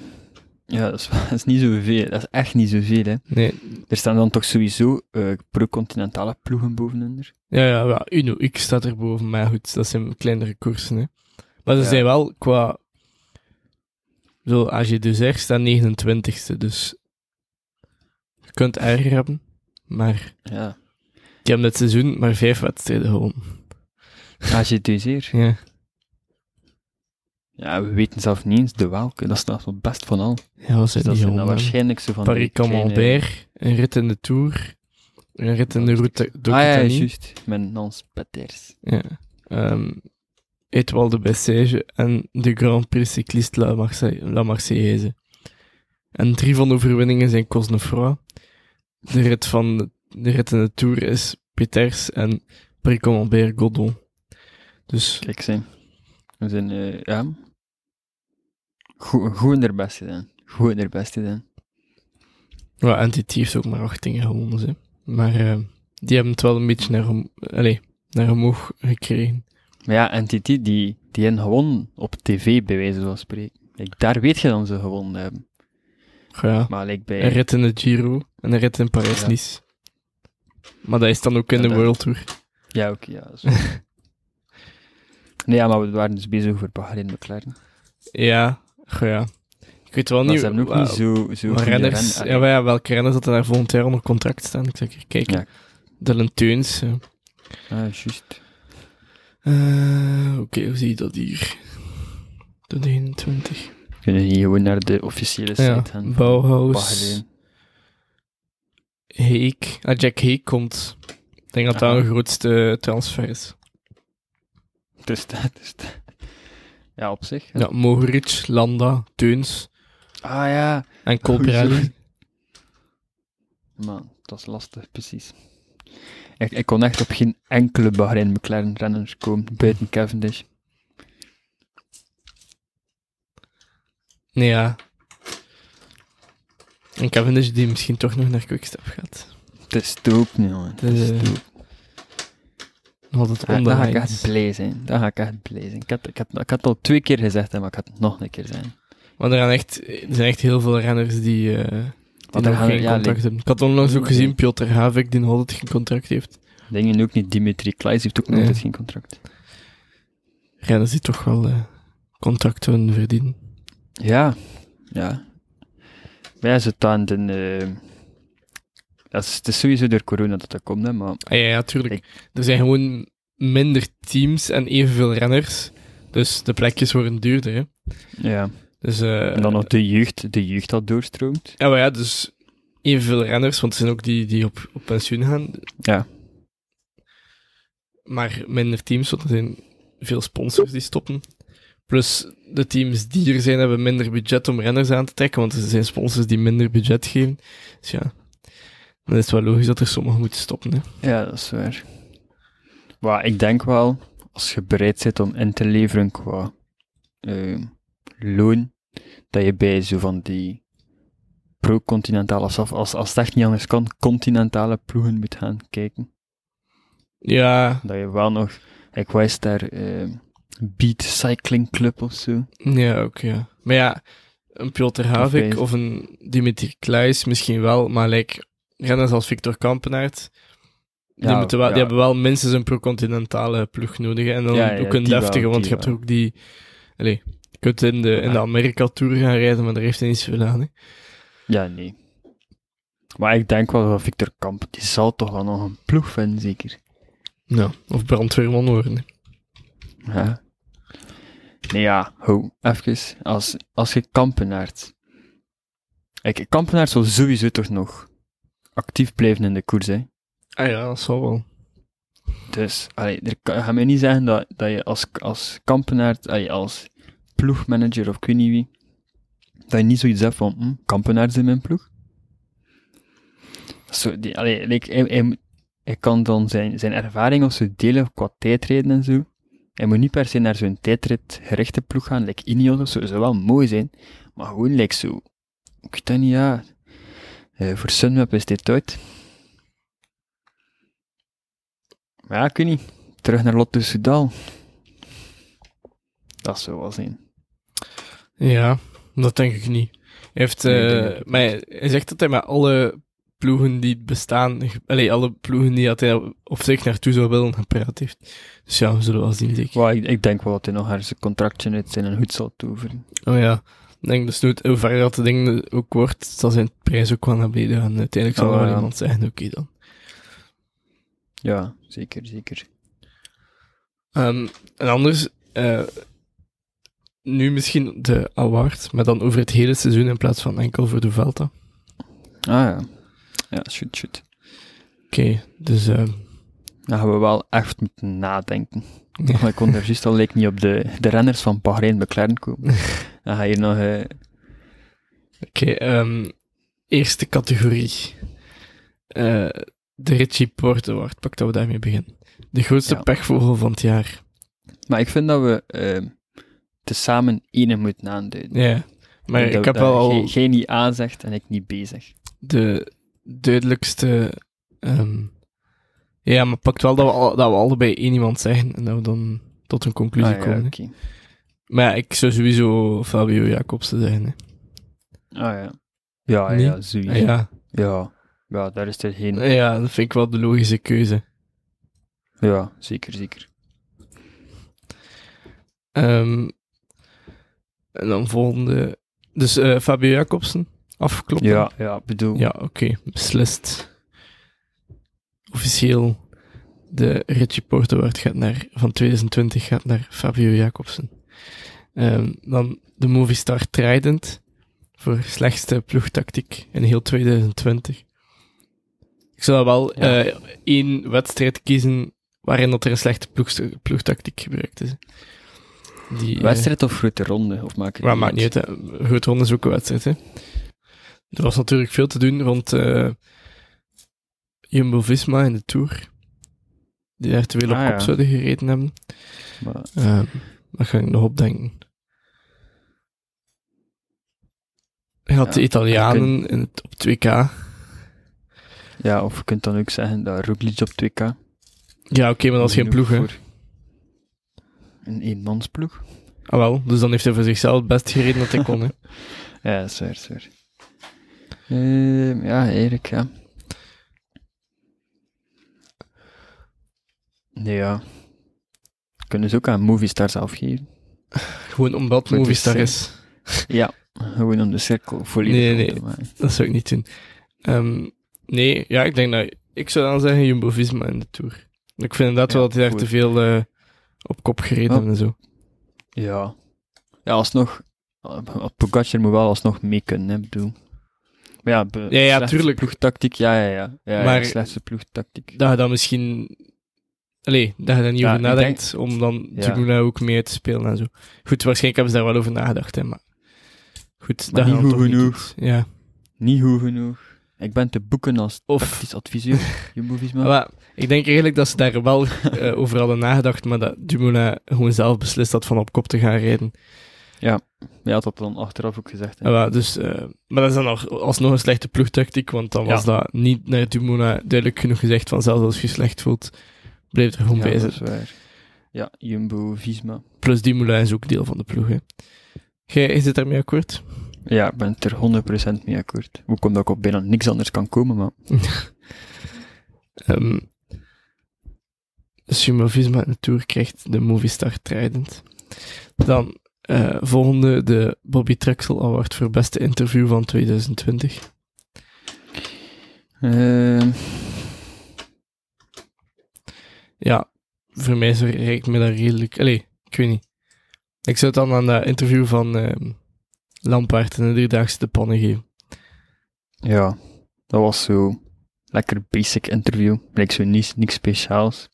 Ja, dat is, dat is niet zoveel. Dat is echt niet zoveel, hè.
nee,
Er staan dan toch sowieso eh pro-continentale ploegen bovenin er.
ja, ja, ja Uno X staat er boven, maar goed, dat zijn kleinere koersen. Hè. Maar ze
Ja.
zijn wel qua. Zo, als je dus zegt, staat 29e. Dus je kunt erger hebben, maar
Ja.
die hebben dit seizoen maar vijf wedstrijden gewonnen.
AGTC'er.
Ja.
Ja, we weten zelf niet eens de welke. Dat is nog het best van al.
Ja, was
Dus dat
het niet
zijn dan
gewonnen. hebben.
waarschijnlijk zo van die
Paris
kleine-
Camembert, een rit in de Tour, een rit in de route.
Ah ja, ja,
D'Occitanie.
juist. Met Nans Peters.
Ja. Ehm Étoile de Bessège en de Grand Prix Cycliste La, Marse La Marseillaise. En drie van de overwinningen zijn Cosnefroid. De rit, van de, de rit in de Tour is Peters en Précombert Godon. Dus
Kijk, zijn. We zijn, eh, ja... Goed, goed in haar best gedaan. Goed in haar best gedaan.
ja, NTT heeft ook maar acht dingen gewonnen. Hè. Maar eh, die hebben het wel een beetje naar, om- allee, naar omhoog gekregen.
Maar ja, NTT, die, die hebben gewoon op tv, bij wijze van spreken. Like, daar weet je dan ze gewonnen hebben.
Ja,
Maar like
een
bij...
rit in de Giro en een rit in Parijs-Nice. Maar dat is dan ook in
Ja,
de
dat-
World Tour.
Ja, oké, ja. dat is waar. nee, ja, maar we waren dus bezig over Bahrein McLaren.
Ja, goh, ja. Ik weet wel
Maar
niet...
ze hebben ook
wa-
niet zo... zo
maar
goede
renners,
ren-
ja, maar ja, welke renners dat er daar volgend jaar onder contract staan? Ik zeg, hier, kijk,
Ja.
Dylan Teuns. eh.
Ah, juist.
Eh, Oké, hoe zie je dat hier? De 21.
Kunnen die gewoon naar de officiële site
Ja,
gaan.
Bauhaus,
Bahrein.
Heek. Ah, Jack Heek komt. Ik denk dat dat
Aha.
een grootste transfer is.
Dus dat, dus dat. Ja, op zich.
Ja, Mogeric, Landa, Teuns
Ah ja.
en Colbrelli.
Hoezo? Maar dat is lastig, precies. Ik, ik kon echt op geen enkele Bahrein McLaren renners komen, buiten Cavendish.
Nee, ja. En Cavendish dus die misschien toch nog naar Quickstep gaat.
Het is doop, nu, jongen. Het is
Dus, eh,
doop.
Nog altijd
Ah, daar ga ik
onderhand.
echt blij zijn. Daar ga ik echt blij zijn. Ik had, ik had, ik had het al twee keer gezegd, hè, maar ik had het nog een keer zijn.
Maar er, gaan echt, er zijn echt heel veel renners die, eh, die
er
nog
gaan-
geen
ja,
contract
like- Mm-hmm.
hebben. Ik had onlangs ook
Oké.
gezien Piotr Havik die nog altijd geen contract heeft.
Dingen ook niet, Dimitri Klaes heeft ook nog
Ja.
altijd geen contract.
Renners die toch wel eh, contracten verdienen.
Ja, ja. Wij zitten aan de... eh, dat is, het is sowieso door corona dat dat komt, hè, maar...
Ah, ja, ja, tuurlijk. Er zijn gewoon minder teams en evenveel renners. Dus de plekjes worden duurder. Hè.
Ja.
Dus, eh,
En dan nog de jeugd, de jeugd dat doorstroomt.
Ja, maar ja, dus evenveel renners, want er zijn ook die, die op, op pensioen gaan.
Ja.
Maar minder teams, want er zijn veel sponsors die stoppen. Plus de teams die er zijn, hebben minder budget om renners aan te trekken, want er zijn sponsors die minder budget geven. Dus ja, dan is het wel logisch dat er sommigen moeten stoppen. Hè.
Ja, dat is waar. Maar ik denk wel, als je bereid bent om in te leveren qua eh, loon, dat je bij zo van die pro-continentale, of zelfs als, als het echt niet anders kan, continentale ploegen moet gaan kijken.
Ja,
Dat je wel nog, ik wijs daar, eh, Beat Cycling Club of zo.
ja, ook ja. Maar ja, een Piotr Havik
Of
of een Dimitri Kluis misschien wel, maar like, renners als Victor Kampenaert, Die,
Ja,
moeten wel, die
ja.
hebben wel minstens een pro-continentale ploeg nodig. hè. En dan
Ja, ja,
ook een
die wel,
deftige, want
die
je hebt
wel. Ah.
ook die... Allee, je kunt in de, in de
Ja.
Amerika-tour gaan rijden, maar daar heeft hij niet zoveel aan. Hè.
Ja, nee. Maar ik denk wel dat Victor Kamp, die zal toch wel nog een ploeg vinden, zeker.
Ja. Of brandweerman worden. hè.
Ja. Nee, ja, ho, even. Als, als je kampenaart. Kijk, kampenaart zal sowieso toch nog actief blijven in de koers, hè.
Ah ja, dat zal wel.
Dus, allee, er, kan- ga mij niet zeggen dat, dat je als, als kampenaart, allee, als ploegmanager of ik weet niet wie, dat je niet zoiets hebt van, hm, kampenaart is in mijn ploeg. Zo, die, allee, like, hij, hij- hij kan dan zijn, zijn ervaring of zo delen qua tijdrijden en zo. Hij moet niet per se naar zo'n tijdrit gerichte ploeg gaan, like Ineos of zo, zou wel mooi zijn, maar gewoon like zo, ik weet dat niet, ja, Eh, voor Sunweb is dit uit. Maar ja, ik weet niet. Terug naar Lotte Soudal. Dat zou wel zijn.
Ja, dat denk ik niet. Hij heeft...
Nee, ik denk dat
eh,
het
maar hij hij zegt dat hij met alle ploegen die bestaan... ge- Allee, alle ploegen die dat hij op zich naartoe zou willen, gepraat heeft. Dus ja, we zullen wel zien, zeker.
Wel, ik, ik denk wel dat hij nog haar zijn contractje uit zijn hoed zal toveren.
Oh ja. Ik denk dus nooit, hoe verder dat de ding ook wordt, zal zijn prijs ook wel naar beneden gaan. Uiteindelijk zal
Oh,
er wel
ja.
iemand zeggen, oké dan.
Ja, zeker, zeker.
Ehm, en anders, eh, nu misschien de award, maar dan over het hele seizoen in plaats van enkel voor de Velta. Oké,
Ah ja. Ja, shoot, shoot.
dus ehm,
Dan gaan we wel echt moeten nadenken. Maar Oh, ik kon er juist al leek niet op de, de renners van Bahrein McLaren komen. Dan ga je nog... eh,
oké. ehm, eerste categorie. Eh, de Richie Porte Award, pak dat we daarmee beginnen. De grootste
Ja.
pechvogel van het jaar.
Maar ik vind dat we eh, tezamen ene moeten aanduiden.
Ja, maar
Dat-
ik heb
dat
wel al...
jij- Jij niet A zegt en ik niet B zeg.
de duidelijkste ehm, Ja, maar pakt wel dat we, al- dat we allebei één iemand zeggen en dat we dan tot een conclusie
Ah,
komen.
ja,
hè.
oké.
Maar ja, ik zou sowieso Fabio Jacobsen zeggen. Hè.
Ah ja. Ja,
Nee?
ja, zoiets. Ja.
Ja.
Ja. daar is er geen.
ja, dat vind ik wel de logische keuze.
Ja, zeker, zeker.
Ehm, en dan volgende. Dus eh, Fabio Jacobsen, afkloppen.
Ja, ja, bedoel.
Ja, oké, beslist. Officieel, de Richie Porte Award gaat naar, van 2020 gaat naar Fabio Jacobsen. Ehm, dan de Movistar Trident voor slechtste ploegtactiek in heel 2020. Ik zou wel
Ja.
eh, één wedstrijd kiezen waarin dat er een slechte ploeg, ploegtactiek gebruikt is. Die, eh,
Wedstrijd of grote ronde? Of maak
maar maakt niet uit, hè. Grote ronde is ook een wedstrijd, hè. Er was natuurlijk veel te doen rond eh, Jumbo-Visma en de Tour. Die daar te veel op
Ah, ja.
kop zouden gereden hebben.
Maar,
Eh, daar ga ik nog op denken. Je had
Ja,
de Italianen in het, op 2K.
ja, of je kunt dan ook zeggen dat Roglic op 2K.
Ja, oké, maar dat is geen ploeg, hè.
Voor Een eenmansploeg.
Ah, wel. Dus dan heeft hij voor zichzelf het best gereden dat hij kon, hè.
Ja, dat is waar, dat is waar. Ehm, ja, Erik, ja. Nee, ja. Kunnen ze ook aan Movistar zelf geven?
Gewoon omdat
Goed,
Movistar
dus,
is.
Ja, gewoon om de cirkel volledig
Nee,
rond
nee.
te maken.
Dat zou ik niet doen. Ehm, nee, ja, ik denk dat... Ik zou dan zeggen Jumbo-Visma in de Tour. Ik vind inderdaad
Ja,
wel dat hij daar
goed.
te veel eh, op kop gereden
Oh.
hebben en zo.
Ja. Ja, alsnog... eh, Pogacar moet wel alsnog mee kunnen, hè, bedoel. Maar ja, be-
Ja, ja,
slechtste
tuurlijk.
ploegtactiek, ja, ja, ja. ja, maar...
Maar-
ja slechtste ploegtactiek.
Dat je dan misschien... Allee, dat je daar niet
Ja, ik
over nadenkt om dan
Ja.
Tribuna ook mee te spelen en zo. Goed, waarschijnlijk hebben ze daar wel over nagedacht, hè, maar... Goed,
Maar
dat je
niet
dan
goed
toch
genoeg.
doet. Ja.
Niet goed genoeg. Ik ben te boeken als
Of-
tactisch adviseur, Jumbo-Visma.
Maar ik denk eigenlijk dat ze daar wel eh, over hadden nagedacht, maar dat Dumoulin gewoon zelf beslist had van op kop te gaan rijden.
Je had dat dan achteraf ook gezegd. Hè?
Ja, wel, dus, eh, maar dat is dan nog, alsnog een slechte ploegtactiek, want dan
Ja.
was dat niet naar Dumoulin eh, duidelijk genoeg gezegd van zelfs als je je slecht voelt, blijf er gewoon
ja, dus-
bij
dat is
zitten.
waar. Ja, Jumbo, Visma.
Plus Dumoulin is ook deel van de ploeg. Hè. Jij is het daarmee akkoord?
Ja, ik ben het er 100% mee akkoord. Hoe komt dat ik op bijna niks anders kan komen, maar...
Ehm dus Jumbo-Visma in de Tour krijgt de Movistar Trident. Dan eh, volgende de Bobby Trexel Award voor beste interview van 2020.
Ehm,
Ja, voor mij is er- reikt me dat redelijk... Allee, ik weet niet. Ik zou het dan aan dat interview van ehm Lampaard in de Driedaagse de pannen geven.
ja, dat was zo... Lekker basic interview. Lijkt zo niets, niks speciaals.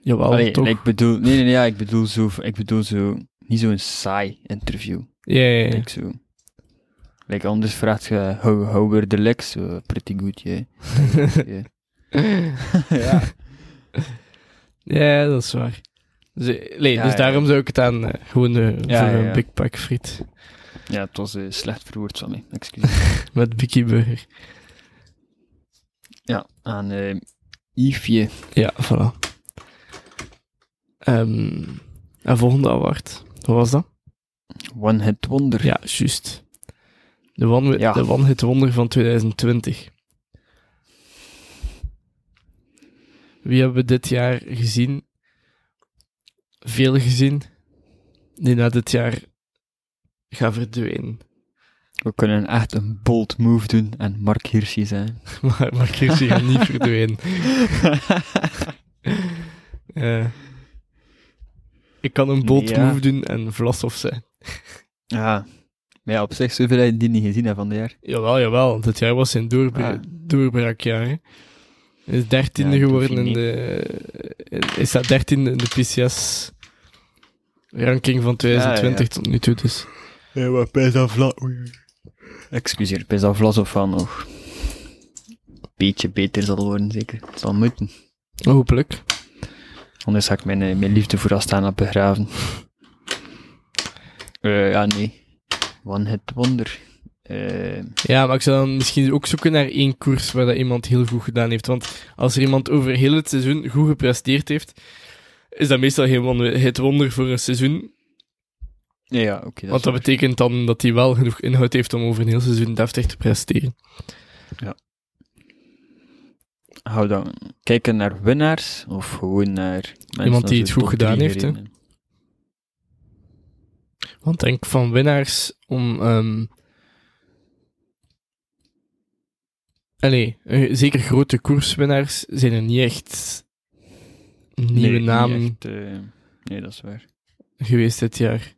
Jawel,
Allee,
toch?
ik bedoel... Nee, nee, nee, ja, ik bedoel zo... Ik bedoel zo... Niet zo'n saai interview.
Ja, ja, ja.
Lijkt zo... Like anders vraagt je... How, how were the legs? Zo, pretty good, yeah. yeah. ja.
ja, dat is waar. Dus, eh, allee,
Ja,
dus
ja.
daarom zou ik het aan eh, gewoon eh,
Ja,
voor
ja,
een
ja.
Big Pack friet
Ja, het was eh, slecht verwoord van mij. Excuseer.
met Bikkie Burger.
Ja, aan eh Yvesje.
Ja, voilà. Ehm, en volgende award. Wat was dat?
One Hit Wonder.
Ja, juist. De One,
Ja.
de one Hit Wonder van 2020. Wie hebben we dit jaar gezien? Veel gezien. Die na dit jaar gaan verdwijnen.
We kunnen echt een bold move doen en Mark Hirschi zijn.
Maar Mark Hirschi gaat niet verdwijnen. Eh, ik kan een bold
Ja.
move doen en Vlasov zijn.
ja. Maar ja, op zich zoveel heb je die niet gezien hè, van de jaar.
Jawel, jawel. Dit jaar was zijn doorbra
Ah.
doorbraakjaar. hè. Hij is dertiende
Ja, ik hoef je
geworden in
niet.
de... eh, Hij staat dertiende in de PCS-ranking van 2020 tot nu toe, dus...
Ja, maar bij dat vla... Excuseer, bij dat vlas of van nog... Beetje beter zal worden, zeker. Het zal moeten.
Hopelijk.
Anders ga ik mijn, eh, mijn liefde voor Astana begraven. Eh, ja, nee. One Hit Wonder. eh,
Ja, maar ik zou dan misschien ook zoeken naar één koers waar dat iemand heel goed gedaan heeft. Want als er iemand over heel het seizoen goed gepresteerd heeft, is dat meestal geen wonder, het wonder voor een seizoen.
ja, oké. dat
want dat
is
betekent dan dat hij wel genoeg inhoud heeft om over een heel seizoen deftig te presteren.
waar. Hou dan kijken naar winnaars of gewoon naar mensen
Iemand die
als
het
de
goed
top drie
gedaan heeft, hè?
gereden
Want denk van winnaars om. ehm Allee, eh, zeker grote koerswinnaars zijn er niet echt nieuwe
Nee, niet
namen.
echt, eh, nee, dat is waar.
geweest dit jaar.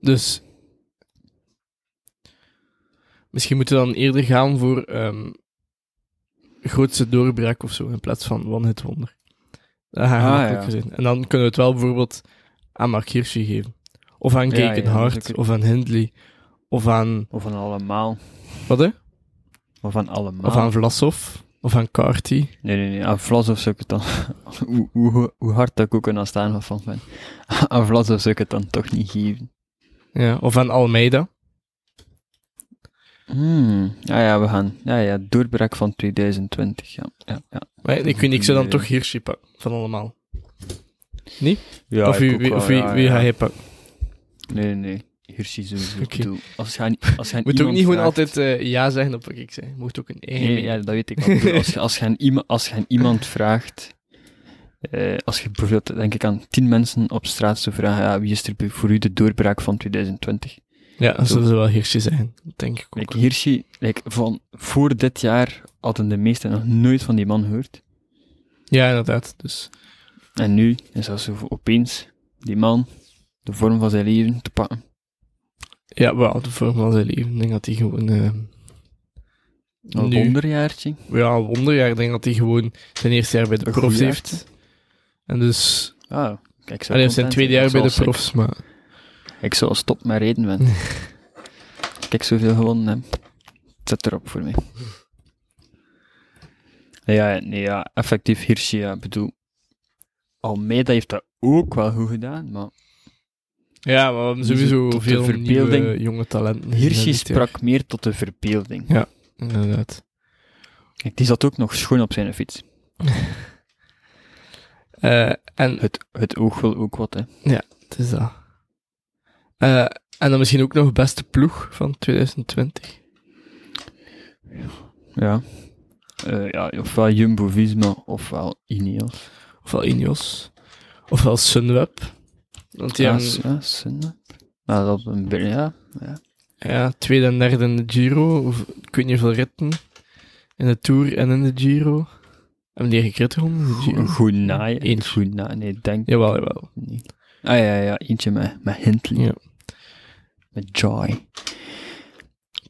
Dus misschien moeten we dan eerder gaan voor ehm, grootste doorbraak of zo in plaats van One Hit Wonder. Dat gaat
Ah,
gemakkelijk
ja.
zijn. En dan kunnen we het wel bijvoorbeeld aan Mark Hirschi geven. Of aan
Ja,
Keken
ja, dat is
Hart,
ook-
of aan Hindley, of aan...
Of van allemaal.
Wat hè?
Of van allemaal.
Of aan Vlasov, of aan Carty.
Nee, nee, nee. Aan Vlasov zou ik het dan... hoe, hoe, hoe hard dat ik ook een staan van ben. Aan Vlasov zou ik het dan toch niet geven.
Ja, of aan Almeida.
Hmm. Ja, ja, we gaan... Ja, ja, doorbraak van 2020. Ja, ja, ja.
Maar ik weet niet, ik zou dan
Nee.
toch Hirschi pakken, van allemaal.
ja
of wie, wie, of wie, wie ga je pakken?
Nee, nee, nee. Hirschi sowieso. Ik
Oké.
bedoel, als je aan, als je aan
Moet ook
iemand
niet gewoon
vraagt-
altijd eh, ja zeggen op wat ik zei. Moet ook een eigen.
Nee, ja, dat weet ik. Maar ik bedoel, als, je, als, je aan iemand, als je aan iemand vraagt... eh, als je bijvoorbeeld, denk ik, aan tien mensen op straat zou vragen... Ja, wie is er voor u de doorbraak van 2020?
ja dat
Zo.
zullen ze wel Hirsje zijn, denk ik ook.
Like, Hirschi, like, van voor dit jaar hadden de meesten nog nooit van die man gehoord.
Ja, inderdaad. Dus
En nu is dat zo opeens die man de vorm van zijn leven te pakken.
ja, wel, de vorm van zijn leven. Ik denk dat hij gewoon. eh,
Een
nu-
wonderjaartje.
Ja, een wonderjaar. Ik denk dat hij gewoon zijn eerste jaar bij de
Een
profs
goed
heeft. En dus.
Ah, kijk, ik zou
Allee,
content
zijn tweede jaar
Ik
bij
zou
de
als ik-
profs, maar.
Ik zou stop met reden ben. Als ik zoveel gewonnen heb. Het zit erop voor mij. Ja, nee, ja, effectief Hirschi, ja, ik bedoel. Almeida heeft dat ook wel goed gedaan, maar
Ja, maar we
Dus
hebben sowieso
tot de
veel
verbeelding.
nieuwe jonge talenten.
Hirschi
gezien dit jaar.
sprak meer tot de verbeelding.
Inderdaad.
Kijk, die zat ook nog schoon op zijn fiets.
Eh, en
Het, het oog wil ook wat, hè.
het is dat. Eh, en dan misschien ook nog beste ploeg van 2020.
Ja. Eh, ja ofwel Jumbo-Visma, ofwel Ineos.
ofwel Ineos, ofwel Sunweb. Want die
Ja,
hebben
Ah, s- ja, Sunweb. Nou, dat een be- ja.
ja, tweede en derde in de Giro, of ik weet niet hoeveel ritten, in de Tour en in de Giro. Hebben die gekrit gewonnen in de Giro?
Een goed naaien.
Eentje.
Goed naaien, nee, denk
Jawel, jawel.
niet. Ah ja, ja, eentje met, met Hindley.
Ja.
Met Joy.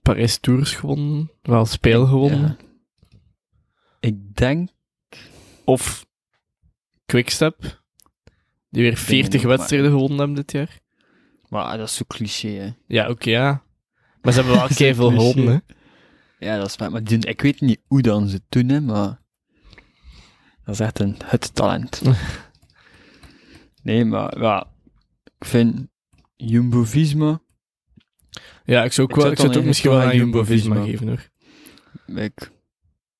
Parijs Tours gewonnen, wel Speel gewonnen,
Ja. Ik denk...
of Quickstep, die weer
het
40
ook,
wedstrijden gewonnen hebben dit jaar.
Maar dat is zo cliché, hè.
Ja, oké, ja. Maar ze hebben wel
Dat is
keihard veel
een cliché.
gewonnen, hè.
Ja, dat is waar. Maar die- ik weet niet hoe dan ze het doen, hè, maar... Dat is echt een, het talent. nee, maar ja, ik vind Jumbo-Visma...
Ja, ik zou ook
Ik
wel,
zou
ik zou het
dan
ook misschien wel aan
eigenlijk wel aan
Jumbo-Visma
Jumbo-Visma
geven, hoor.
Ik,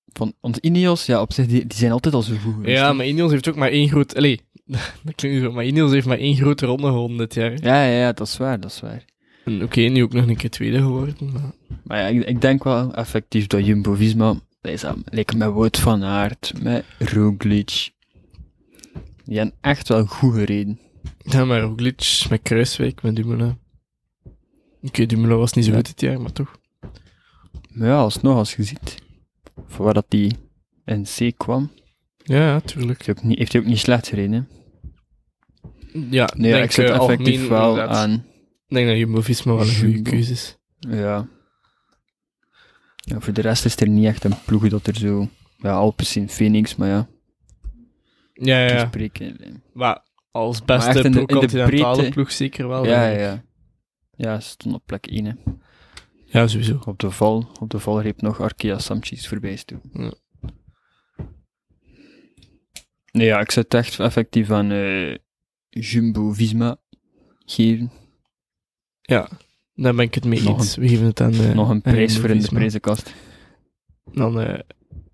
van, want Ineos, ja, op zich, die, die zijn altijd al zo goed geweest,
Ja,
hè.
maar Ineos heeft ook maar één groot... Allee, dat klinkt niet zo, maar Ineos heeft maar één grote ronde gewonnen dit jaar.
Ja, ja, ja, dat is waar, dat is waar.
En Oké, nu ook nog een keer tweede geworden. maar-
Maar ja, ik, ik denk wel effectief dat Jumbo-Visma... dat is aan- Like met Wout van Aert, met Roglic... Die hebben echt wel goed gereden.
Ja, maar Roglic met Kruiswijk, met Dumoulin. Oké, Dumoulin was niet zo
Ja.
goed dit jaar, maar toch.
Maar ja, alsnog, als je ziet... Voor waar dat die in C kwam...
Ja, ja, tuurlijk.
heeft hij ook niet- Heeft hij ook niet slecht gereden, hè?
Ja,
Nee,
denk,
ik zit
eh,
effectief
algemeen
wel
inderdaad.
aan...
Ik denk dat Jumbo-Visma wel een goede
Jumbo.
keuze is.
Ja. ja. Voor de rest is er niet echt een ploeg dat er zo... Ja, Alpes in Phoenix, maar ja...
Ja, ja,
te
ja.
spreken. eh,
Maar als
Dus Maar echt
beste
in de- in de
pro-continentale
breedte.
ploeg zeker wel.
Ja,
denk ik.
ja. Ja, ze stond op plek 1. Hè.
Ja, sowieso.
Op, de val, op de valreep nog Arkea Samchis voorbij is toe.
Ja.
Nee, ja, ik zou het echt effectief aan eh, Jumbo Visma geven.
Daar ben ik het mee
Nog
eens. We geven het aan... eh,
Nog een
aan
prijs voor in de
Louise, maar
prijzenkast.
Dan eh,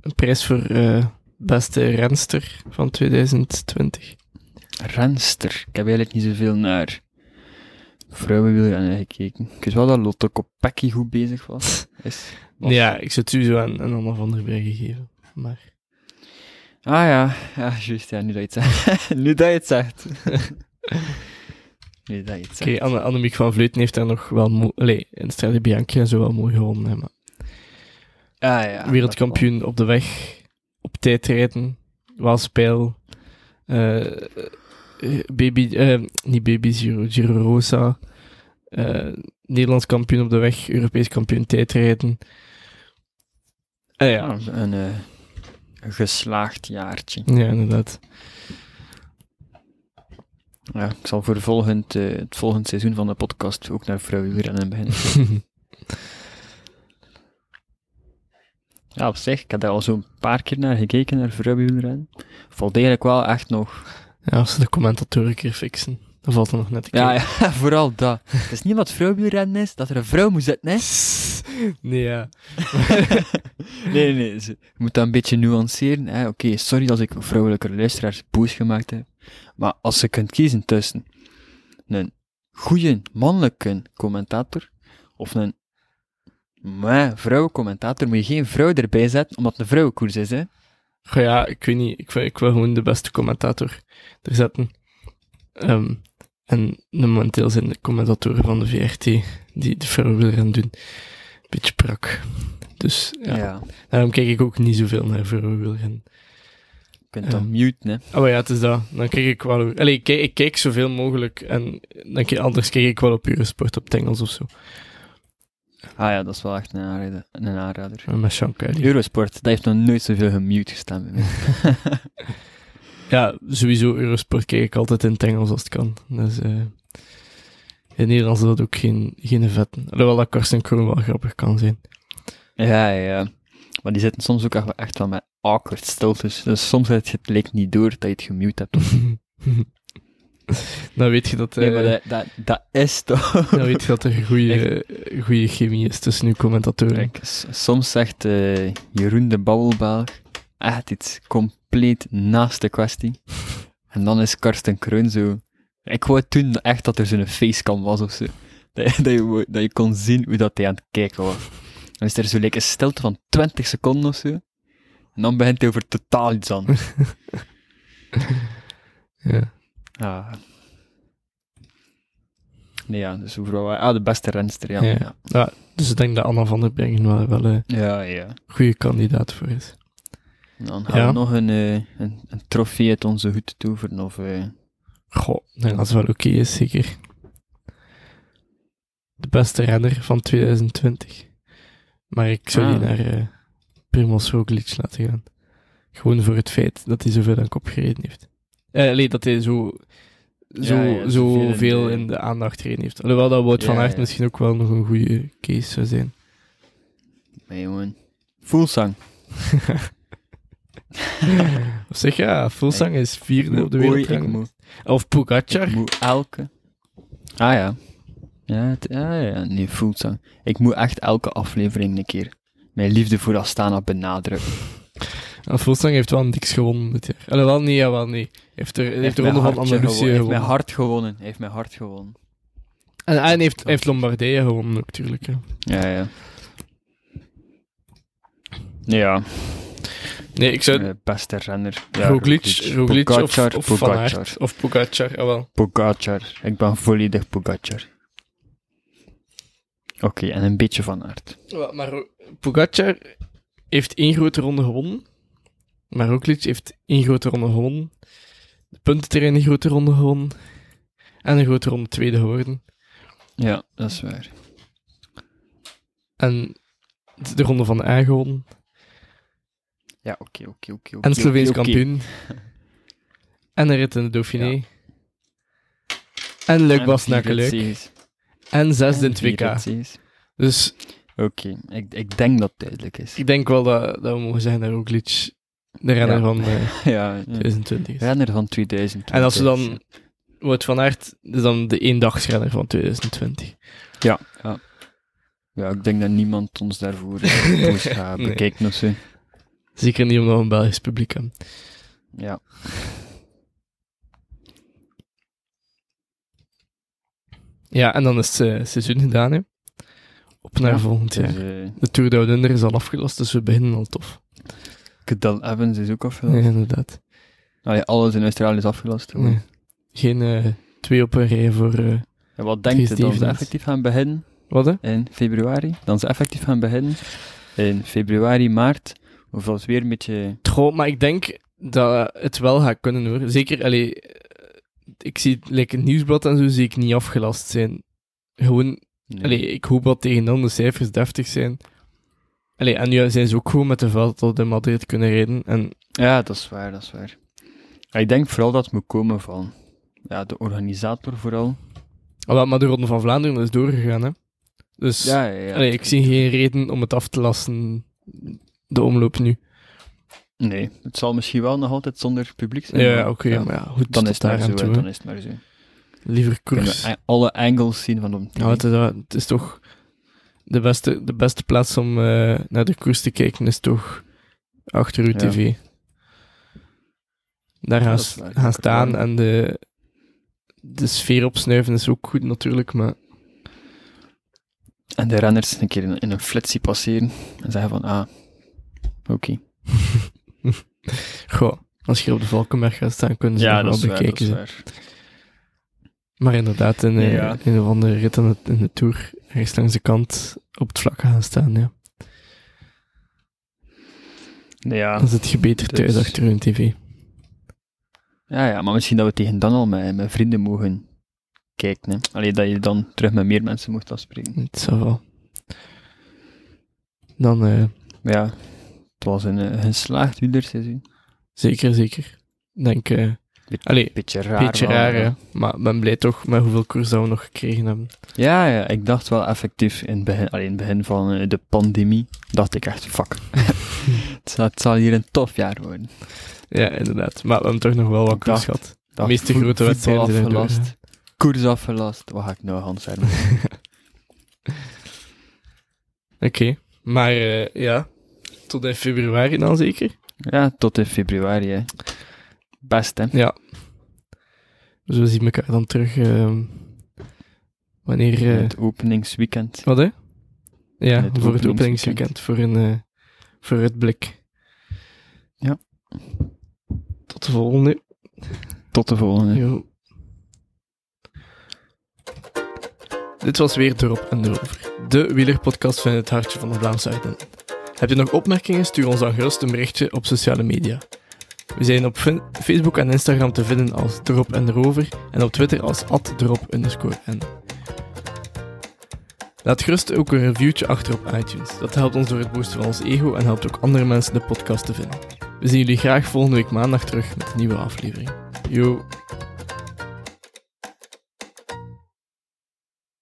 een prijs voor eh, beste renster van 2020.
Renster. Ik heb eigenlijk niet zoveel naar vrouwenwielrennen gekeken. Ik wist wel dat Lotte Kopecky goed bezig was. Is, was.
Ja, ik zou het sowieso aan een ander van der Breggen geven. Maar...
Ah ja, ja juist. Ja, nu dat je het zegt. nu dat je het zegt. nu dat je het zegt.
Oké, Anne Annemiek van Vleuten heeft daar nog wel... mo- Allee, in Strade Bianchi en zo wel mooi gewonnen. hè, maar
Ah, ja,
Wereldkampioen op de weg, op tijdrijden, Waalspijl, eh, eh, baby, eh, niet baby Giro, Giro Rosa, eh, Nederlands kampioen op de weg, Europees kampioen tijdrijden. Eh, ja,
Ja, een eh, een geslaagd jaartje.
ja, inderdaad.
Ja, ik zal voor volgend, eh, het volgend seizoen van de podcast ook naar vrouwenwielrennen beginnen. Ja, op zich, ik heb daar al zo'n paar keer naar gekeken, naar vrouwenwielrennen. Valt eigenlijk wel echt nog...
ja, als ze de commentatoren een keer fixen, dan valt er nog net een keer.
Ja, ja, vooral dat. Het is niet wat vrouwenwielrennen is, dat er een vrouw moet zitten, hè.
Nee, ja.
nee, nee, ze- je moet dat een beetje nuanceren. hè. Oké, sorry dat ik vrouwelijke luisteraars boos gemaakt heb. Maar als je kunt kiezen tussen een goede mannelijke commentator of een meh, vrouwencommentator, moet je geen vrouw erbij zetten, omdat het een vrouwenkoers is, hè.
Goh, ja, ik weet niet. Ik wil, ik wil gewoon de beste commentator er zetten. Ehm, en de- momenteel zijn de commentatoren van de VRT die de vrouwen willen gaan doen. Een beetje prak. Dus ja, daarom kijk ik ook niet zoveel naar vrouwen willen gaan.
Je kunt dat
Ja.
muten, hè.
Oh maar ja, het is dat. Dan kijk ik wel. Allee, ik kijk, ik kijk zoveel mogelijk. En dan kijk, anders kijk ik wel op Eurosport op het Engels of zo.
Ah ja, dat is wel echt een aanrader. Een aanrader.
En Met Sean Kelly.
Eurosport, dat heeft nog nooit zoveel gemute gestaan bij mij.
Ja, sowieso Eurosport kijk ik altijd in het Engels als het kan. Dus, eh, in het Nederlands is dat ook geen, geen vetten. Alhoewel dat Karsten Kroon wel grappig kan zijn.
Ja, ja. Maar die zitten soms ook echt wel- echt wel met awkward stiltes. Dus soms heb je het leek niet door dat je het gemute hebt.
dan weet je dat, eh,
Nee, maar dat, dat, dat is toch...
dan weet je dat er een goede, goede chemie is tussen uw commentatoren.
Kijk, s- soms zegt eh, Jeroen de Babbelbelg echt iets compleet naast de kwestie. En dan is Karsten Kroon zo... Ik wou toen echt dat er zo'n facecam was of zo. Dat, je- dat, je, wou- dat je kon zien hoe dat hij aan het kijken was. Dan is er zo like, een stilte van 20 seconden of zo. En dan begint hij over totaal iets anders.
Ja.
Ah. Nee, ja, dus overal... Ah, de beste renster, ja.
Ja.
Ja,
Ja, dus ik denk dat Anna van der Breggen wel, wel een
ja. ja.
goede kandidaat voor is.
Dan gaan
Ja.
we nog een, eh, een, een trofee uit onze hoed toveren. Of, eh,
Goh, ik denk dat het wel oké is, zeker. De beste renner van 2020. Maar ik zou die
Ah.
naar eh Primoz Roglic laten gaan. Gewoon voor het feit dat hij zoveel aan kop gereden heeft. Eh, nee, dat hij zo, zo,
Ja, ja,
zo veel
de-
in de aandacht gereden heeft. Alhoewel dat Wout van
Ja,
Aert
ja.
misschien ook wel nog een goede case zou zijn.
nee, jongen. Fullsang.
Op zich, ja, Fulsang is vierde op de
Oei, ik
wereldrang.
moet-
Of Pogacar.
ik moet elke... Ah ja. Ja, het, ja, ja, nee, Fullsang. Ik moet echt elke aflevering een keer mijn liefde voor Astana benadrukken.
En Fulsang heeft wel niks gewonnen dit jaar. Alhoewel, nee, jawel, nee. Hij Heeft er, hij heeft de
mijn
ronde van
hartje
Andalusië
gewo- Heeft
gewonnen.
mijn hart gewonnen. Hij Heeft mijn hart gewonnen.
En, en heeft, heeft Lombardije gewonnen ook, natuurlijk. hè.
Ja, ja. Ja,
Nee, ik zou
eh, beste renner. Ja,
Roglic, Roglic of,
Pogacar,
of Van
Pogacar.
Aert. Of Pogacar, jawel.
Pogacar. Ik ben volledig Pogacar. Oké, en een beetje van aard.
Wel, Maar Ro- Pogacar heeft één grote ronde gewonnen. Maar Roglic heeft één grote ronde gewonnen. De puntenterrein een grote ronde gewonnen. En een grote ronde tweede geworden.
Ja, dat is waar.
En de ronde van de A gewonnen.
Ja, oké, oké, oké. oké,
En Sloveens
oké, oké.
kampioen. En een rit in de Dauphiné. En leuk
En
was
vier
leuk.
ritsegers.
En zesde in
En
het
vier
WK.
ritsegers.
Dus
Oké, ik, ik denk dat het duidelijk is.
Ik denk wel dat, dat we mogen zeggen dat Roglic de renner
Ja.
van eh,
ja, ja.
2020 is.
renner van 2000.
En als we dan... Wout van Aert is dan de eendagsrenner van 2020.
Ja, ja. Ja, ik denk dat niemand ons daarvoor eh, boos gaat
Nee.
bekijken of zo.
Zeker niet omdat we een Belgisch publiek hebben.
Ja.
Ja, en dan is het eh, seizoen gedaan, hè. Op naar
Ja,
volgend jaar.
Dus, eh,
De Tour de Oudunder is al afgelast, dus we beginnen al tof.
Cadel Evans is ook
Ja,
afgelast.
inderdaad.
Allee, alles in Australië is afgelast. hoor.
Nee. Geen eh, twee op een rij voor... eh,
En wat denkt je
Drie
dat ze
Stevens.
effectief gaan beginnen
wat, hè?
in februari? Dan ze effectief gaan beginnen in februari, maart. Of dat het weer een beetje...
Goh, maar ik denk dat het wel gaat kunnen, hoor. Zeker, allee, eh, ik zie het, like, het nieuwsblad en zo zie ik niet afgelast zijn. Gewoon,
Nee.
allee, ik hoop dat tegen dan de cijfers deftig zijn. Allee, en nu zijn ze ook gewoon met de veld tot in Madrid kunnen rijden. En
Ja, dat is waar, dat is waar. Maar Ik denk vooral dat het moet komen van ja, de organisator vooral.
Ah, wel, maar de Ronde van Vlaanderen is doorgegaan, hè. Dus
Ja, ja, ja.
allee, ik zie geen reden om het af te lassen, de omloop nu.
Nee, het zal misschien wel nog altijd zonder publiek zijn.
Ja,
maar
oké, maar ja, goed,
Dan
tot
is het maar
daar
zo,
aan
hè,
toe,
dan
hè.
is het maar zo.
Liever
Kunnen
koers.
we a- alle angles zien van de
Nou, het is, eh, het is toch de beste, de beste plaats om eh, naar de koers te kijken, is toch achter uw
Ja.
tv. Daar
Ja,
gaan,
dat is
s-
waar,
gaan
dat kan
staan
wel.
en de, de sfeer opsnuiven is ook goed natuurlijk, maar
En de renners een keer in, in een flitsie passeren en zeggen van, ah, oké.
goh, als je hier op de Valkenberg gaat staan, kunnen ze nog wel bekeken. zijn.
waar.
Maar inderdaad, in, eh,
Ja.
in een of andere rit aan de, in de Tour, rechts langs de kant op het vlak gaan staan, ja.
Ja.
Dan zit je beter
Dus-
thuis achter hun tv.
Ja, ja, maar misschien dat we tegen dan al met, met vrienden mogen kijken. Hè. Allee, dat je dan terug met meer mensen mocht afspreken.
Het zal wel. Dan... eh,
Maar ja, het was een eh, geslaagd wielerseizoen.
Zeker, zeker. Ik Denk, eh allee,
Beetje raar.
een beetje
wel,
raar,
hè.
hè. maar ben blij toch met hoeveel koers dat we nog gekregen hebben.
Ja, ja, ik dacht wel effectief in het begin, alleen in het begin van eh, de pandemie, dacht ik echt, fuck. het, zal, het zal hier een tof jaar worden.
Ja, inderdaad. Maar we hebben toch nog wel wat
Ik
koers
dacht-
gehad.
De
meeste grote wedstrijden zijn er door,
afgelast. Koers afgelast. Wat ga ik nou, Hans? Herman?
Oké, maar eh, ja, tot in februari dan zeker.
ja, tot in februari, hè. Best, hè.
Ja. Dus we zien elkaar dan terug ehm, wanneer... eh,
Het openingsweekend.
wat, hè? Ja,
het
voor het
openingsweekend.
openingsweekend, voor een eh vooruitblik.
Ja.
Tot de volgende.
Tot de volgende.
Jo. Dit was weer Erop en Erover, de wielerpodcast van het hartje van de Vlaamse Ardennen. Heb je nog opmerkingen, stuur ons dan gerust een berichtje op sociale media. We zijn op fin- Facebook en Instagram te vinden als Erop en Erover en op Twitter als @erop_n. Laat gerust ook een reviewtje achter op iTunes. Dat helpt ons door het boosten van ons ego en helpt ook andere mensen de podcast te vinden. We zien jullie graag volgende week maandag terug met een nieuwe aflevering. Yo!